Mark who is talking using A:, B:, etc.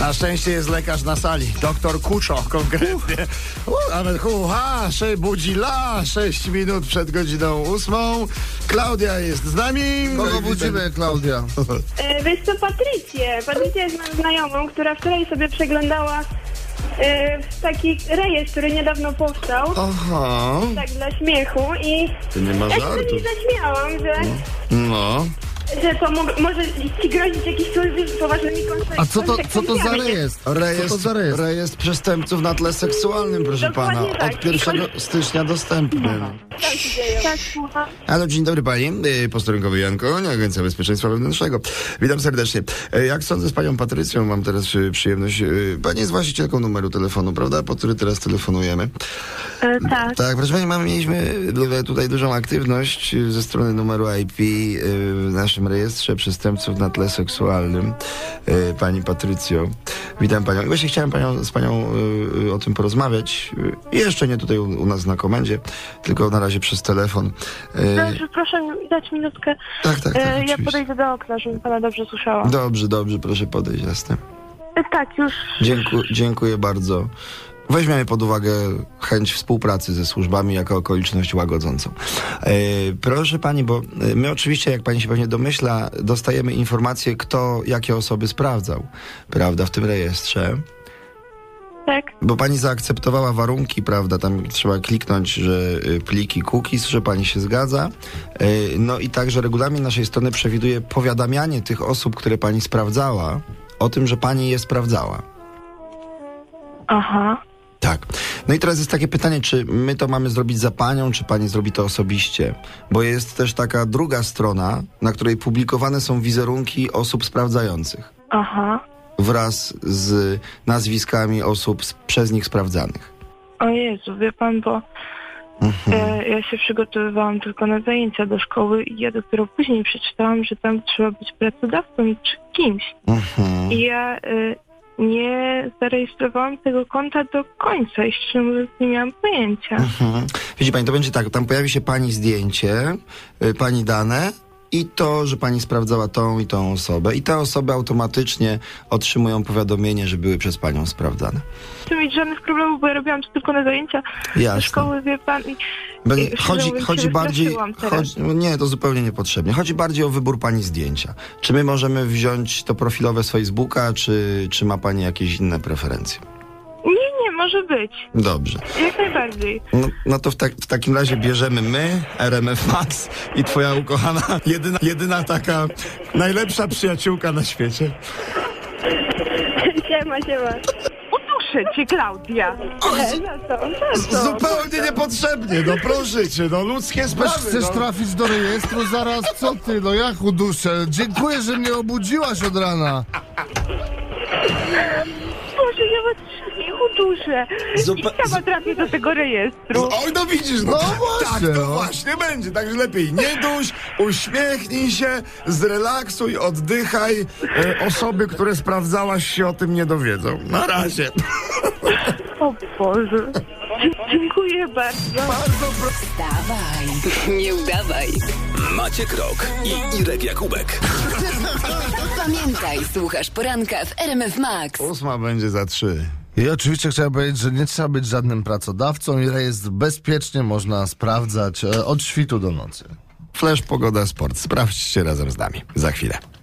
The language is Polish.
A: Na szczęście jest lekarz na sali. Doktor Kuczo konkretnie.
B: Uh.
A: U, nawet huha, szy budzi la, 6 minut przed godziną ósmą. Klaudia jest z nami. No
B: Kogo budzimy, Klaudia?
C: E, Wiesz co, Patrycję. Patrycja jest moją znajomą, która wczoraj sobie przeglądała e, taki rejestr, który niedawno powstał,
A: Aha,
C: tak dla śmiechu i
D: To nie ma
C: ja się do niej
D: żartu.
C: zaśmiałam, że,
A: no.
C: że to mo- może ci grozić jakimiś poważnymi konsekwencjami.
B: A co to, co to za rejestr? Co to
A: Rejestr,
B: za rejestr?
A: rejestr przestępców na tle seksualnym, proszę
C: Dokładnie
A: pana.
C: tak.
A: Od 1 stycznia dostępny. No.
C: Tak, słucham.
A: Halo, dzień dobry pani. Yy, Posterunkowy Jan Koń, Agencja Bezpieczeństwa Wewnętrznego. Witam serdecznie. E, Jak sądzę z panią Patrycją, mam teraz e, przyjemność. e, Pani jest właścicielką numeru telefonu, prawda? Po który teraz telefonujemy.
E: E,
C: tak.
A: Tak, proszę Pani, mamy, mieliśmy e, tutaj dużą aktywność e, ze strony numeru IP e, w naszym rejestrze przestępców na tle seksualnym. E, Pani Patrycjo, witam Panią. I Właśnie chciałem panią, z Panią e, e, o tym porozmawiać. E, Jeszcze nie tutaj u, u nas na komendzie, tylko na razie przez telefon. E,
E: Dobrze, proszę mi dać minutkę.
A: Tak, tak, tak,
E: E, No, ja
A: oczywiście.
E: podejdę do okna, żebym pana dobrze słyszała.
A: Dobrze, dobrze, proszę podejść, jasne.
E: E, tak, już.
A: Dzięku, dziękuję bardzo. Weźmiemy pod uwagę chęć współpracy ze służbami jako okoliczność łagodzącą. E, proszę pani, bo e, my oczywiście, jak pani się pewnie domyśla, dostajemy informacje, kto jakie osoby sprawdzał, prawda, w tym rejestrze.
E: Tak,
A: Bo pani zaakceptowała warunki, prawda? Tam trzeba kliknąć, że y, pliki cookies, że pani się zgadza. Y, No i także regulamin naszej strony przewiduje powiadamianie tych osób, które pani sprawdzała, o tym, że pani je sprawdzała.
E: aha.
A: Tak. No i teraz jest takie pytanie, czy my to mamy zrobić za panią, czy pani zrobi to osobiście? Bo jest też taka druga strona, na której publikowane są wizerunki osób sprawdzających
E: Aha.
A: wraz z nazwiskami osób s- przez nich sprawdzanych.
E: O Jezu, wie pan, bo
A: Mhm.
E: e, ja się przygotowywałam tylko na zajęcia do szkoły i ja dopiero później przeczytałam, że tam trzeba być pracodawcą czy kimś.
A: Mhm.
E: I ja e, nie zarejestrowałam tego konta do końca i szczerze mówiąc nie miałam pojęcia.
A: Mhm. Widzi pani, to będzie tak, tam pojawi się pani zdjęcie, y, pani dane i to, że pani sprawdzała tą i tą osobę. I te osoby automatycznie otrzymują powiadomienie, że były przez panią sprawdzane.
E: Nie chcę mieć żadnych problemów, bo ja robiłam to tylko na zajęcia do
A: Jasne.
E: szkoły, wie pan, i
A: Be-
E: szczerze
A: chodzi
E: mówiąc, się
A: chodzi bardziej.
E: wystraszyłam teraz.
A: Chodzi, no nie, to zupełnie niepotrzebnie. Chodzi bardziej o wybór pani zdjęcia. Czy my możemy wziąć to profilowe z Facebooka, czy, czy ma pani jakieś inne preferencje?
E: Nie, nie, może być.
A: Dobrze.
E: Jak najbardziej.
A: No, no to w, tak, w takim razie bierzemy my, RMF Max i twoja ukochana, jedyna, jedyna taka najlepsza przyjaciółka na świecie.
C: Siema, siema.
E: Uduszę cię, Klaudia.
C: E, Za to, za to.
A: Zupełnie niepotrzebnie, no proszę cię, no ludzkie
B: Też
A: sprawy.
B: chcesz
A: no.
B: trafić do rejestru zaraz? Co ty, no jak uduszę? Dziękuję, że mnie obudziłaś od rana.
E: Boże, ja was wszystkich uduszę.
A: Zupe-
E: I sama trafię do tego rejestru.
A: No, Oj, no widzisz, no,
B: No
A: tak
B: właśnie,
A: to
B: no.
A: właśnie będzie. Także lepiej nie duś, uśmiechnij się, zrelaksuj, oddychaj. E, osoby, które sprawdzałaś się o tym nie dowiedzą. Na razie.
E: O Boże. Dzie- Dziękuję bardzo.
A: Bardzo proszę.
F: Wstawaj, nie udawaj.
G: Maciek Rok i Irek Jakubek.
F: Pamiętaj, słuchasz poranka w RMF Max.
A: Ósma będzie za trzy.
B: I oczywiście chciałem powiedzieć, że nie trzeba być żadnym pracodawcą i rejestr bezpiecznie można sprawdzać e, od świtu do nocy.
A: Flash Pogoda Sport. Sprawdźcie razem z nami. Za chwilę.